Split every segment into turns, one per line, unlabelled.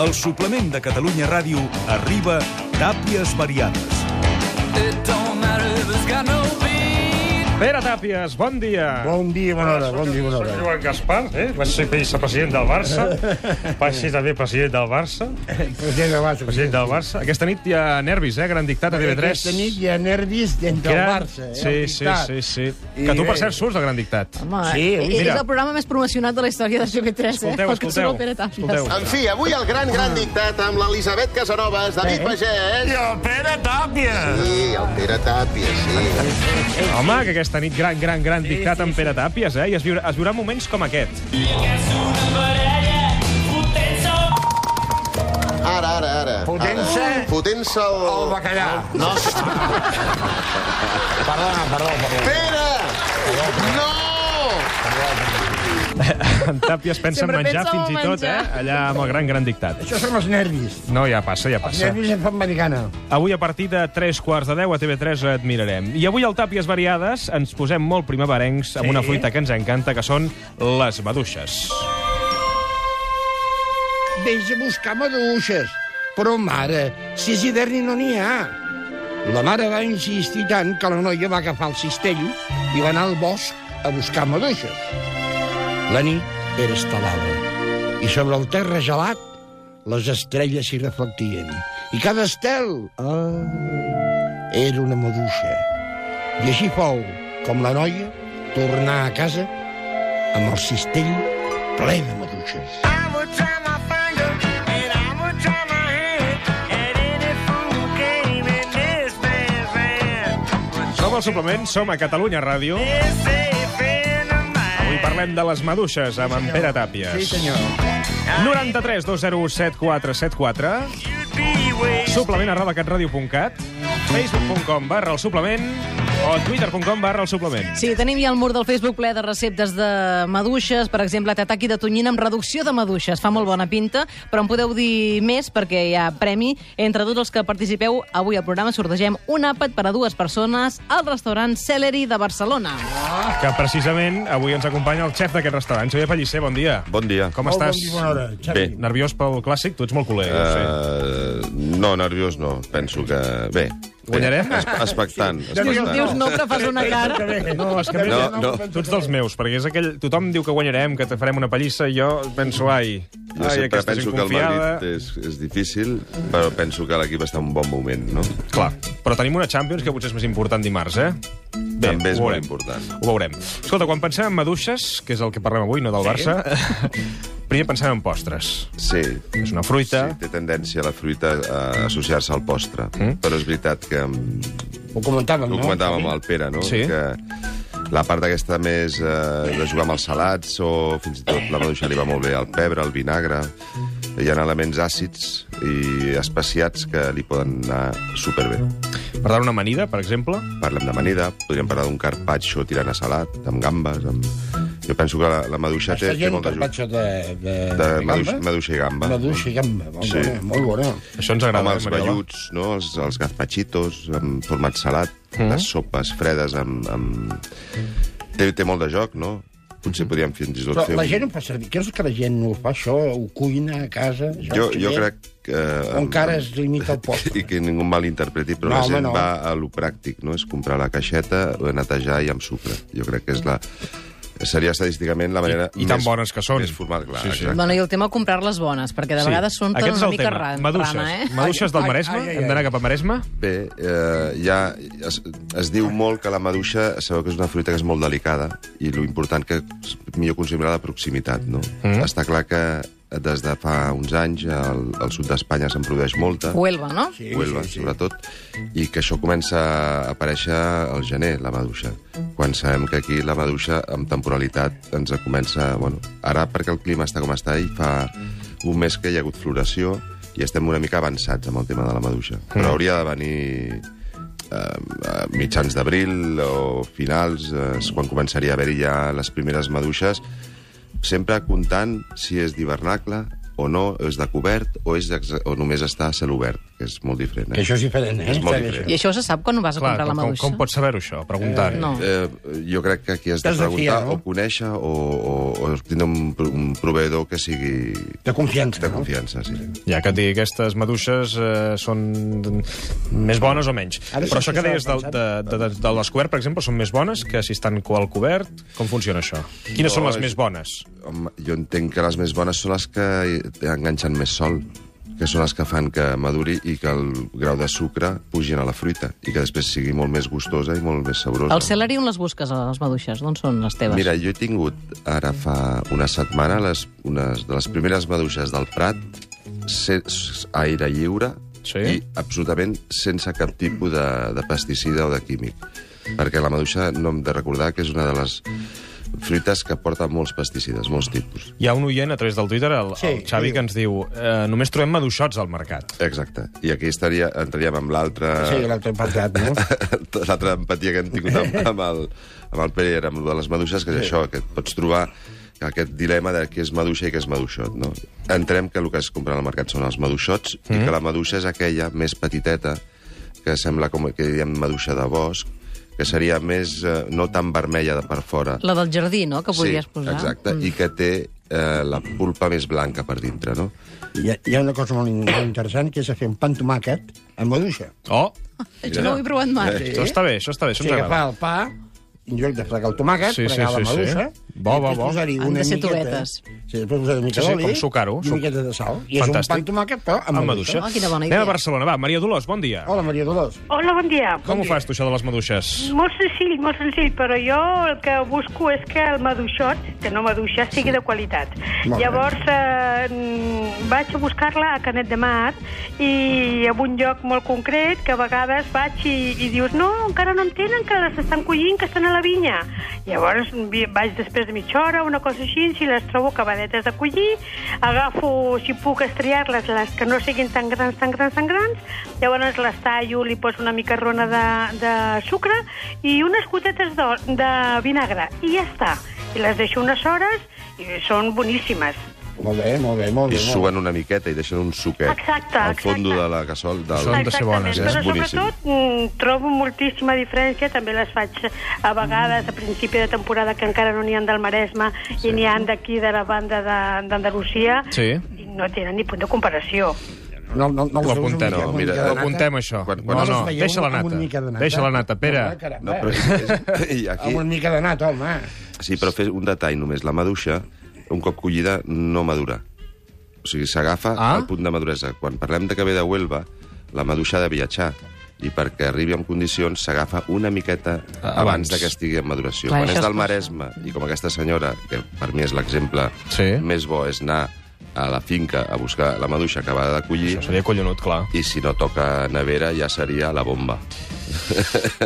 El suplement de Catalunya Ràdio arriba d'àpies variades.
It don't matter if it's got no beat.
Pere Tàpies, bon dia.
Bon dia, bona hora, bon dia, bona
Soc
hora.
Joan Gaspar, eh? vaig ser vicepresident del Barça, vaig ser també president del Barça,
President del Barça.
president del Barça. Aquesta nit hi ha nervis, eh? Gran dictat a TV3.
Aquesta nit hi ha nervis dins del
Gran-
Barça. Eh?
Sí, sí, sí, sí.
I
Que tu, per
bé.
cert, surts del Gran Dictat.
Home,
Sí,
sí, és
mira.
el programa més promocionat de la història de TV3, eh?
Escolteu,
Pel que surt el Pere Tàpies.
escolteu. escolteu.
En fi, avui el gran,
Ah.
gran dictat amb l'Elisabet Casanovas,
Eh?
David Pagès
I el Pere Tàpies!
i el Pere Tàpia, sí.
Home, que aquesta nit gran, gran, gran dictat amb Pere Tàpies, eh? I es viurà, es viurà moments com aquest.
Ara, ara, ara.
Fotent-se
Ara. Fotent-se
El
el...
bacallà.
No.
Perdona, perdó, perdó.
Pere! No!
En Tàpies pensa en
Sempre
menjar
pensa en
fins i tot, eh?
menjar.
Allà amb el Gran, Gran Dictat.
Això són els nervis.
No, ja passa, ja
Els
passa.
nervis en fan americana.
Avui a partir de 3 quarts de 10 a TV3 et mirarem. I avui al Tàpies Variades ens posem molt primaverencs amb una fruita que ens encanta, que són les maduixes.
Vés a buscar maduixes. Però, mare, si és hiverni no n'hi ha. La mare va insistir tant que la noia va agafar el cistello i va anar al bosc a buscar maduixes. La nit era estelada i sobre el terra gelat les estrelles s'hi reflectien. I cada estel ah, era una maduixa. I així fou com la noia tornar a casa amb el cistell ple de maduixes.
Som al suplement, som a Catalunya Ràdio. Avui parlem de les maduixes amb en Pere Tàpies.
Sí, senyor.
93 201 7474 suplement arroba catradio.cat facebook.com barra el suplement o twitter.com barra el suplement.
Sí, tenim ja el mur del Facebook ple de receptes de maduixes, per exemple, tataki de tonyina amb reducció de maduixes. Fa molt bona pinta, però en podeu dir més perquè hi ha premi. Entre tots els que participeu, avui al programa sortegem un àpat per a dues persones al restaurant Celery de Barcelona.
Que precisament avui ens acompanya el xef d'aquest restaurant, Xavier Pellicer, bon dia.
Bon dia.
Com
Molt
estàs?
Bon dia, bona hora, Xavi.
Bé.
Nerviós pel clàssic? Tu ets molt culer, uh... sé.
Uh, no, nerviós no. Penso que... Eh, Bé.
Guanyarem?
Bé, es- expectant.
Dius,
expectant.
dius no, però fas una cara.
No, és que
No, no.
tu ets dels meus, perquè és aquell... Tothom diu que guanyarem, que te farem una pallissa, i jo penso, ai...
Jo
ai,
sempre
aquesta
penso
gent
que el
confiada.
Madrid és, és difícil, però penso que l'equip està en un bon moment, no?
Clar, però tenim una Champions que potser és més important dimarts, eh? Bé,
També és
ho
molt
veurem.
important.
Ho veurem. Escolta, quan pensem en maduixes, que és el que parlem avui, no del Barça, primer pensem en postres.
Sí.
És una fruita.
Sí, té tendència la fruita a associar-se al postre. Mm? Però és veritat que... mm,
Ho comentàvem,
Ho
no?
comentàvem amb el Pere, no?
Sí.
Que la part aquesta més eh, de jugar amb els salats o fins i tot la maduixa li va molt bé el pebre, el vinagre... Hi ha elements àcids i especiats que li poden anar superbé.
Per tant, una amanida, per exemple.
Parlem d'amanida, podríem parlar d'un carpaccio tirant a salat, amb gambes, amb... Jo penso que la, la maduixa té,
Estàs
té
dient un
molt d'ajut.
carpaccio de, de,
De maduixa,
gamba?
maduixa i gamba.
Maduixa i gamba. Molt
Sí.
sí. bona, molt bona.
Això ens agrada,
amb els
eh, Mariola?
velluts, no? els, els gazpachitos, amb format salat, mm. les sopes fredes amb... amb... Té, té molt de joc, no? Potser podríem fins i tot
Mm. Però
fer...
la
un-
gent ho fa servir. Creus que la gent ho fa, això? Ho cuina a casa? Això,
Jo,
Xavier?
jo crec que... eh,
O encara es limita al postre?
I que ningú em malinterpreti, però
No,
la
home,
gent
no.
va a lo pràctic, no? És comprar la caixeta, netejar i amb sucre. Jo crec que és la... Seria estadísticament la manera...
i tan bones que són.
Més formal, clar,
Sí, sí.
exacte.
Bueno, i el tema comprar-les bones, perquè de vegades són tot
Aquest és
una
el
mica
tema.
ra-
Maduixes.
rana, eh?
Maduixes del
Ai,
Maresme?
ai, ai,
Hem d'anar cap a Maresme?
Bé, eh, ja es, es diu molt que la maduixa, sabeu que és una fruita que és molt delicada i lo important que és millor consumir-la de proximitat, no? Mm. Està clar que des de fa uns anys al, al sud d'Espanya se'n produeix molta,
Huelva, no?
Sí,
Huelva,
sí, sí.
sobretot, i que això comença a aparèixer al gener, la maduixa, quan sabem que aquí la maduixa, amb temporalitat, ens comença... Bueno, ara, perquè el clima està com està, i fa un mes que hi ha hagut floració, i estem una mica avançats amb el tema de la maduixa.
Mm.
Però hauria de venir eh, a mitjans d'abril o finals, eh, és quan començaria a haver-hi ja les primeres maduixes, sempre comptant si és d'hivernacle o no, és de cobert o, és exa- o només està a cel obert, que és molt diferent.
Que això és diferent, eh?
És molt
Saber
diferent.
I això se sap quan vas a
Clar,
comprar la
com, com,
maduixa?
com pots saber-ho, això? Preguntant.
No.
Eh, jo crec que aquí has de
T'has de
preguntar
fiar, no?
o conèixer o, o, o tindre un, pro- un proveïdor que sigui
De confiança,
de
no?
confiança. Sí.
Ja, que et digui, aquestes maduixes eh, són més bones o menys.
Ara sí
Però això
que
que
s'ha
deies del, de, de, de, de l'escobert, per exemple, són més bones que si estan al cobert? Com funciona això? Quines
No,
són les
és-
més bones?
Home, jo entenc que les més bones són les que enganxen més sol, que són les que fan que maduri i que el grau de sucre pugin a la fruita i que després sigui molt més gustosa i molt més saborosa.
Al celery on les busques, a les maduixes? D'on són les teves?
Mira, jo he tingut ara fa una setmana les, unes de les primeres maduixes del Prat sense aire lliure
Sí.
i absolutament sense cap tipus de, de pesticida o de químic. Perquè la maduixa no hem de recordar que és una de les fruites que porta molts pesticides, molts tipus.
Hi ha un oient a través del Twitter, el,
Sí,
sí, el Xavi,
diu.
que ens diu eh, només trobem maduixots al mercat.
Exacte. I aquí estaria, entraríem amb l'altra...
Sí, l'altre passat, no?
l'altra empatia que hem tingut amb, amb, el, amb el Pere, amb lo de les maduixes, que és això, que et pots trobar aquest dilema de què és maduixa i què és maduixot. No? Entrem que el que es compra al mercat són els maduixots mm -hmm. i que la maduixa és aquella més petiteta, que sembla com que diem maduixa de bosc, que seria més, eh, no tan vermella de per fora.
La del jardí, no?, que podries posar.
exacte, mm. i que té eh, la pulpa més blanca per dintre, no?
Hi ha, hi ha una cosa molt, in- molt interessant, que és fer un pa amb tomàquet amb maduixa.
Oh,
Això no ho he provat mai.
Sí.
això està bé, això està bé,
O
això
sigui,
ens
agafar
agrada.
el pa, en lloc de fregar el tomàquet,
Sí, sí,
fregar
sí, sí.
la maduixa...
Bo,
i
bo,
després
bo.
posar-hi
Han
una
de ser
miqueta-
tubetes.
Sí, després posar una mica
Sí, sí,
d'oli
com sucar-ho,
i
suc.
una miqueta de sal. I és un
Fantàstic.
pa amb tomàquet, però amb,
Amb maduixa.
Ah, quina bona
Anem a
idea.
Barcelona, va. Maria Dolors, bon dia.
Hola, Maria Dolors.
Hola, bon dia.
Com ho fas, tu, això de les maduixes?
Molt senzill, molt senzill, però jo el que busco és que el maduixot, que no maduixa, sigui de qualitat.
Molt bé.
Llavors eh, mm, vaig a buscar-la a Canet de Mar i a un lloc molt concret que a vegades vaig i, i dius no, encara no en tenen, que les estan collint, que estan a la vinya. Llavors vi- vaig després de mitja hora, una cosa així, si les trobo acabadetes de collir, agafo, si puc, estriar-les, les que no siguin tan grans, tan grans, tan grans, llavors les tallo, li poso una mica rona de, de sucre i unes gotetes de, de vinagre, i ja està. I les deixo unes hores i són boníssimes.
Molt bé, molt bé, molt bé. molt
I
bé.
suen una miqueta i deixen un suquet
Exacte,
al fondo
exacte.
de la cassola. Del...
Són de ser bones, eh?
Però
Boníssim.
sobretot mm, trobo moltíssima diferència, també les faig a vegades a principi de temporada que encara no n'hi han del Maresme sí. i n'hi han d'aquí de la banda de- d'Andalusia.
Sí.
I No tenen ni punt de comparació.
No, no, no,
Ho
us veus una
apuntem,
mica-
no,
una
mira,
mica de
Ho
nata?
apuntem, això.
Quan- quan
No,
es
no,
veieu
deixa la
amb una
nata.
mica de nata?
Deixa la nata,
Ah,
Pere.
caramba,
No, però és, és, i aquí,
Amb una mica de nata, home.
sí, però fes un detall només. La maduixa, un cop collida, no madura. O sigui, s'agafa
Ah?
al punt de maduresa. Quan parlem de que ve de Huelva, la maduixa ha de viatjar i perquè arribi en condicions s'agafa una miqueta abans,
abans.
de que estigui en maduració.
Clar,
Quan
això
és
es
del
passa.
Maresme, i com aquesta senyora, que per mi és l'exemple
Sí.
més bo, és anar a la finca a buscar la maduixa acabada de collir,
Això seria collonut, clar.
i si no toca nevera ja seria la bomba.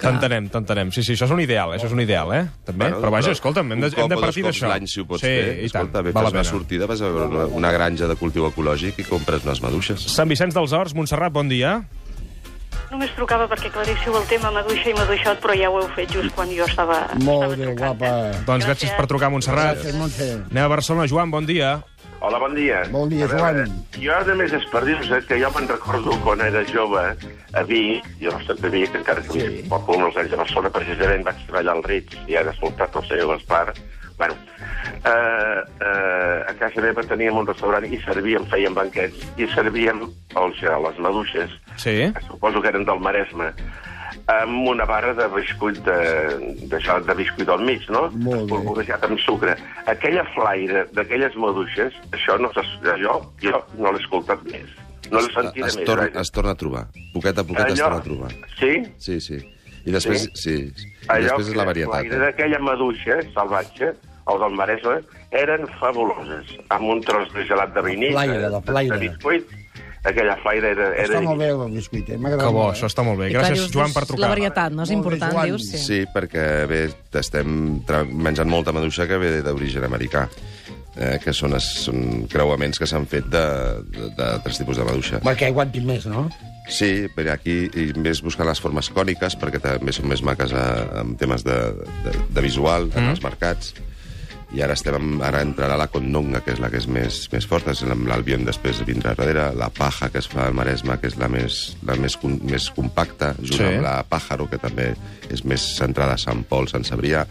T'entenem, t'entenem. Sí, sí, això és un ideal, eh? això és un ideal, eh? També.
Bueno,
Però vaja, escolta'm, hem de,
un cop
hem de
o dos
partir
cops
d'això.
l'any, si ho pots
sí,
fer.
i tant.
Escolta, bé,
Val la
fas una
pena.
sortida, vas a veure una, una granja de cultiu ecològic i compres unes maduixes.
Sant Vicenç dels Horts, Montserrat, bon dia.
Només trucava perquè claríssiu el tema maduixa i maduixot, però ja ho heu fet just quan jo estava... eh?
Molt bé, guapa.
Doncs gràcies, per trucar, Montserrat.
Gràcies, Montse.
Anem a Barcelona, Joan, bon dia.
Hola, bon dia.
Bon dia,
A veure,
Joan.
Jo, a més, és per dir-vos que jo me'n recordo quan era jove a Vic, jo no estic de Vic, encara que sí. un poble molts anys a Barcelona, precisament vaig treballar al Ritz i ara he escoltat el senyor Gaspar. Bueno, eh, eh, a casa meva teníem un restaurant i servíem, fèiem banquets, i servíem el gel, les maduixes,
Sí.
suposo que eren del Maresme, amb una barra de biscuit de, de, de biscuit al mig, no?
Molt bé.
Polvorejat amb sucre. Aquella flaire d'aquelles maduixes, això no s'ha... Jo, jo no l'he escoltat més. No l'he sentit
es,
més. eh?
torna,
vaja.
es torna a trobar. Poquet a poquet es
Allò-
torna a trobar.
Sí?
Sí, sí. I després, sí. sí. I després és la
que
varietat.
flaire
Eh?
d'aquella maduixa salvatge, o del Maresme, eren fabuloses. Amb un tros de gelat de vinil,
flaire,
de-
la flaire.
de biscuit, aquella flaire era... era
Està
divina.
molt bé el biscuit, eh? M'agrada
Que bo,
molt, eh?
això està molt bé.
I clar,
Gràcies,
dius,
Joan, per
dius,
trucar.
La varietat, no? És
Molt bé,
important,
Joan.
dius? Sí.
Sí, perquè bé, estem tra- menjant molta maduixa que ve d'origen americà eh, que són, es, són creuaments que s'han fet de, de, de tres tipus de maduixa.
Perquè aguantin més, no?
Sí, però aquí i més buscant les formes còniques, eh,
Mm.
perquè també són més maques a, en temes de, de, de visual, en els mercats. i ara estem amb, ara entrarà la Condonga, que és la que és més, més forta, és amb l'Albion després vindrà darrere, la Paja, que es fa al Maresme, que és la més, la més, com- més compacta, junt
Sí.
sí. amb la Pájaro, que també és més centrada a Sant Pol, Sant Cebrià.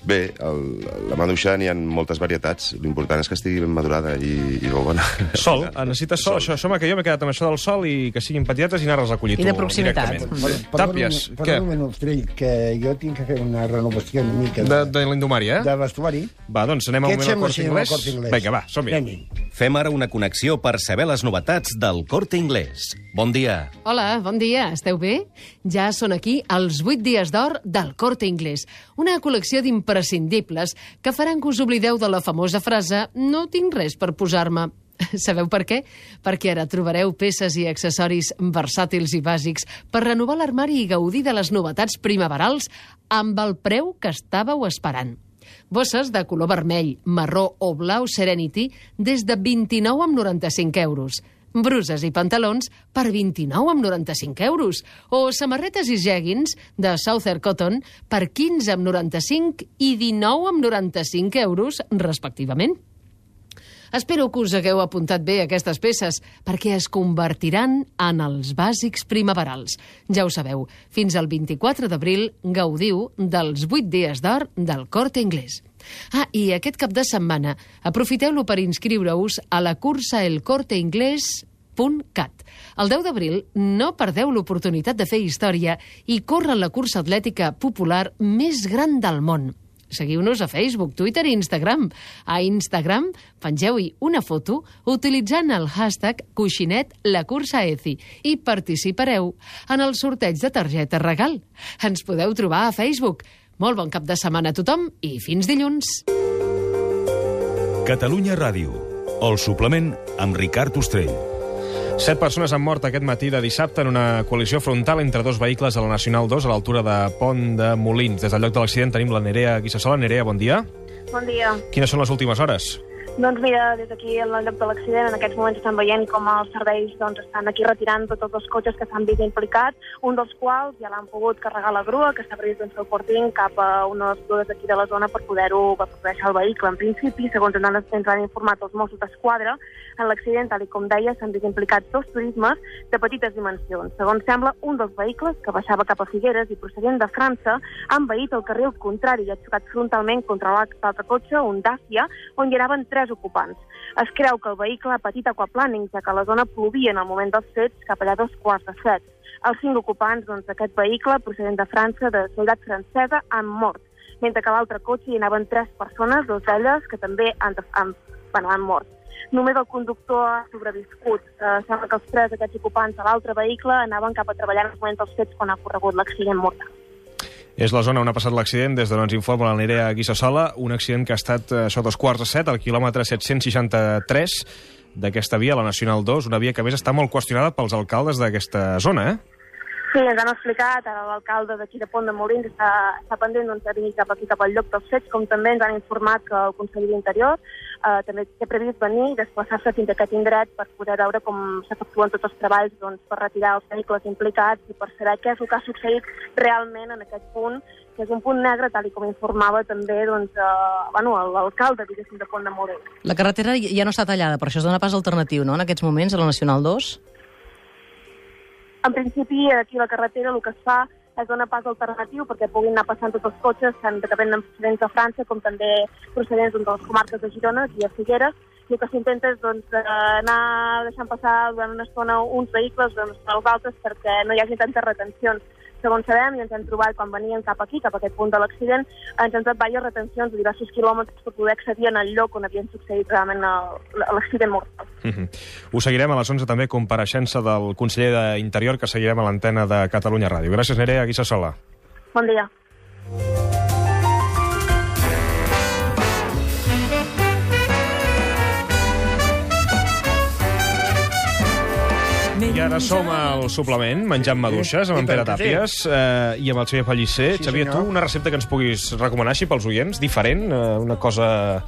Bé, el, la maduixa n'hi ha moltes varietats, l'important és que estigui ben madurada i, i bo bona.
Sol, necessita sol. Això, això home, que jo m'he quedat amb això del sol i que siguin petites i anar-les a collir
I de proximitat.
directament.
Perdó-
Tàpies,
perdona-
què?
Perdona un Ostrell, que jo tinc que fer una renovació una mica
De, de l'indumària, eh?
de vestuari.
Va, doncs anem a
Què
un
et
moment
sembla
al
si
Corte
anem al
Inglés.
Corte Inglés?
Vinga, va, som-hi.
Anem-hi.
Fem ara una connexió per saber les novetats del Corte Inglés. Bon dia.
Hola, bon dia, esteu bé? Ja són aquí els 8 dies d'or del Corte Inglés, una col·lecció d'imprescindibles que faran que us oblideu de la famosa frase «no tinc res per posar-me». Sabeu per què? Perquè ara trobareu peces i accessoris versàtils i bàsics per renovar l'armari i gaudir de les novetats primaverals amb el preu que estàveu esperant. Bosses de color vermell, marró o blau Serenity des de 29 amb 95 euros. Bruses i pantalons per 29 amb 95 euros. O samarretes i jeggings de Southern Cotton per 15 amb 95 i 19 amb 95 euros, respectivament. Espero que us hagueu apuntat bé aquestes peces, perquè es convertiran en els bàsics primaverals. Ja ho sabeu, fins al 24 d'abril gaudiu dels 8 dies d'or del Corte Inglés. Ah, i aquest cap de setmana aprofiteu-lo per inscriure-us a la cursa El Corte Inglés www.cat. El 10 d'abril no perdeu l'oportunitat de fer història i córrer la cursa atlètica popular més gran del món. Seguiu-nos a Facebook, Twitter i Instagram. A Instagram pengeu-hi una foto utilitzant el hashtag coixinet la cursa ECI i participareu en el sorteig de targeta regal. Ens podeu trobar a Facebook. Molt bon cap de setmana a tothom i fins dilluns!
Catalunya Ràdio. El suplement amb Ricard Ostrell.
Set persones han mort aquest matí de dissabte en una col·lisió frontal entre dos vehicles a la Nacional 2 a l'altura de Pont de Molins. Des del lloc de l'accident tenim la Nerea Guissassola. Nerea, bon dia.
Bon dia.
Quines són les últimes hores?
Doncs mira, des d'aquí, en el lloc de l'accident, en aquests moments estan veient com els serveis doncs, estan aquí retirant tots els dos cotxes que s'han vist implicats, un dels quals ja l'han pogut carregar la grua, que està previst doncs, que el portin cap a unes dues d'aquí de la zona per poder-ho per poder deixar el vehicle. En principi, segons ens han- ens han informat els Mossos d'Esquadra, en l'accident, tal i com deia, s'han vist implicats dos turismes de petites dimensions. Segons sembla, un dels vehicles que baixava cap a Figueres i procedent de França ha envaït el carril contrari i ha xocat frontalment contra l'alt- l'altre cotxe, un Dacia, on hi anaven tres ocupants. Es creu que el vehicle ha patit aquaplaning, ja que a la zona plovia en el moment dels fets cap allà dos quarts de set. Els cinc ocupants doncs, d'aquest vehicle, procedent de França, de ciutat francesa, han mort, mentre que a l'altre cotxe hi anaven tres persones, dos d'elles que també han, han, bueno, han mort. Només el conductor ha sobreviscut. Eh, sembla que els tres d'aquests ocupants de l'altre vehicle anaven cap a treballar en el moment dels fets quan ha corregut l'accident mortal.
És la zona on ha passat l'accident, des d'on ens informa la Nerea Guissassola, un accident que ha estat eh, això dos quarts de set, al quilòmetre 763 d'aquesta via, la Nacional 2, una via que a més està molt qüestionada pels alcaldes d'aquesta zona, eh?
Sí, ens han explicat, ara l'alcalde d'aquí de Pont de Molins està, està pendent doncs, de venir cap aquí, cap al lloc dels fets, com també ens han informat que el conseller d'Interior eh, també té previst venir i desplaçar-se fins a aquest indret per poder veure com s'efectuen tots els treballs doncs, per retirar els vehicles implicats i per saber què és el que ha succeït realment en aquest punt, que és un punt negre, tal i com informava també doncs, eh, bueno, l'alcalde, diguéssim, de Pont de Molins.
La carretera ja no està tallada, per això es dona pas alternatiu, no?, en aquests moments, a la Nacional 2.
En principi, aquí a la carretera el que es fa es dona pas alternatiu perquè puguin anar passant tots els cotxes, tant que venen procedents de França com també procedents doncs, de les comarques de Girona i de Figueres. I el que s'intenta és doncs, eh, anar deixant passar durant una estona uns vehicles, durant una estona els altres, perquè no hi hagi tantes retencions. Segons sabem, i ens hem trobat quan venien cap aquí, cap a aquest punt de l'accident, ens han trobat diverses retencions de diversos quilòmetres per poder accedir en el lloc on havien succeït realment el- l'accident mortal.
Mhm. Ho seguirem a les 11 també, compareixença del conseller d'Interior, que seguirem a l'antena de Catalunya Ràdio. Gràcies, Nerea Guissassola.
Bon dia.
I que ara som al suplement, menjant maduixes, amb en Pere Tàpies eh, i amb el Xavier Pellicer.
Sí,
Xavier, tu
senyor.
una recepta que ens puguis recomanar així pels oients, diferent, eh, una cosa...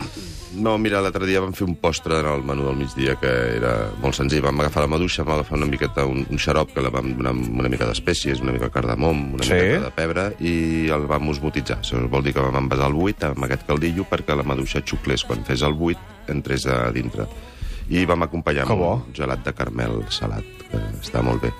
No, mira, l'altre dia vam fer un postre en el menú del migdia que era molt senzill. Vam agafar la maduixa, vam agafar una miqueta un, un xarop que la vam donar amb una mica d'espècies, una mica de cardamom, una
Sí.
sí. miqueta de pebre, i el vam osmotitzar. Això vol dir que vam envasar el buit amb aquest caldillo perquè la maduixa xuclés quan fes el buit, entrés a dintre. I vam acompanyar amb un gelat de carmel salat, que està molt bé.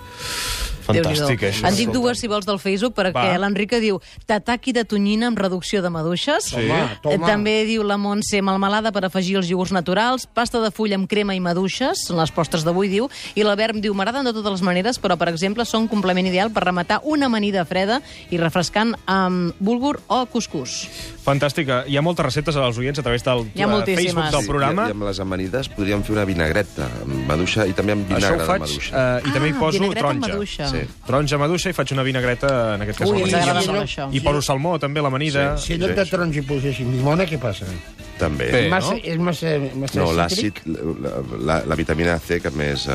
Déu-n'hi-do. En dic dues, si vols, del Facebook, perquè
Va.
l'Enrica diu tataki de tonyina amb reducció de maduixes. Eh,
Sí. Toma, toma.
També diu la Montse melmelada per afegir els iogurts naturals, pasta de full amb crema i maduixes, són les postres d'avui, diu, i la Verm diu, m'agraden de totes les maneres, però, per exemple, són un complement ideal per rematar una amanida freda i refrescant amb bulgur o couscous.
Fantàstica. Hi ha moltes receptes als oients a través del
Hi ha
eh,
moltíssimes.
Facebook del programa.
I, I amb les amanides podríem fer una vinagreta amb maduixa i també amb
Això
vinagre
ho
de
faig,
maduixa.
eh, i també hi
Ah,
poso
vinagreta amb
taronja.
maduixa.
Sí. Taronja, maduixa, i faig una vinagreta, en aquest cas.
Ui,
amb
ens
maduixa.
agrada molt, això.
I poso salmó, també, a l'amanida.
Si en lloc de taronja hi posessin llimona, què passa?
També.
és massa, és massa, massa
No,
cítric?
l'àcid, la, la, la vitamina C, que més eh,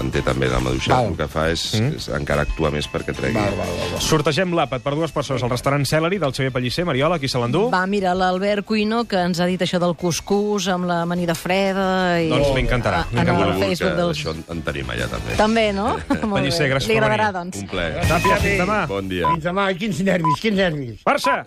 en té també la maduixa, el que fa és, mm. és encara actua més perquè tregui. Val, val,
val,
Sortegem l'àpat per dues persones al restaurant Celery del Xavier Pellicer. Mariola, qui se l'endú?
Va, mira, l'Albert Cuino, que ens ha dit això del couscous amb la amanida freda... I...
Doncs li encantarà,
Ah, En el Facebook del...
Això en, en tenim allà, també.
També, no? Molt bé.
Pellicer, gràcies
Li
per
agradarà,
venir.
doncs.
Un plaer.
Tàpia, fins
demà. Bon dia.
Fins demà, quins nervis, quins nervis.
Barça!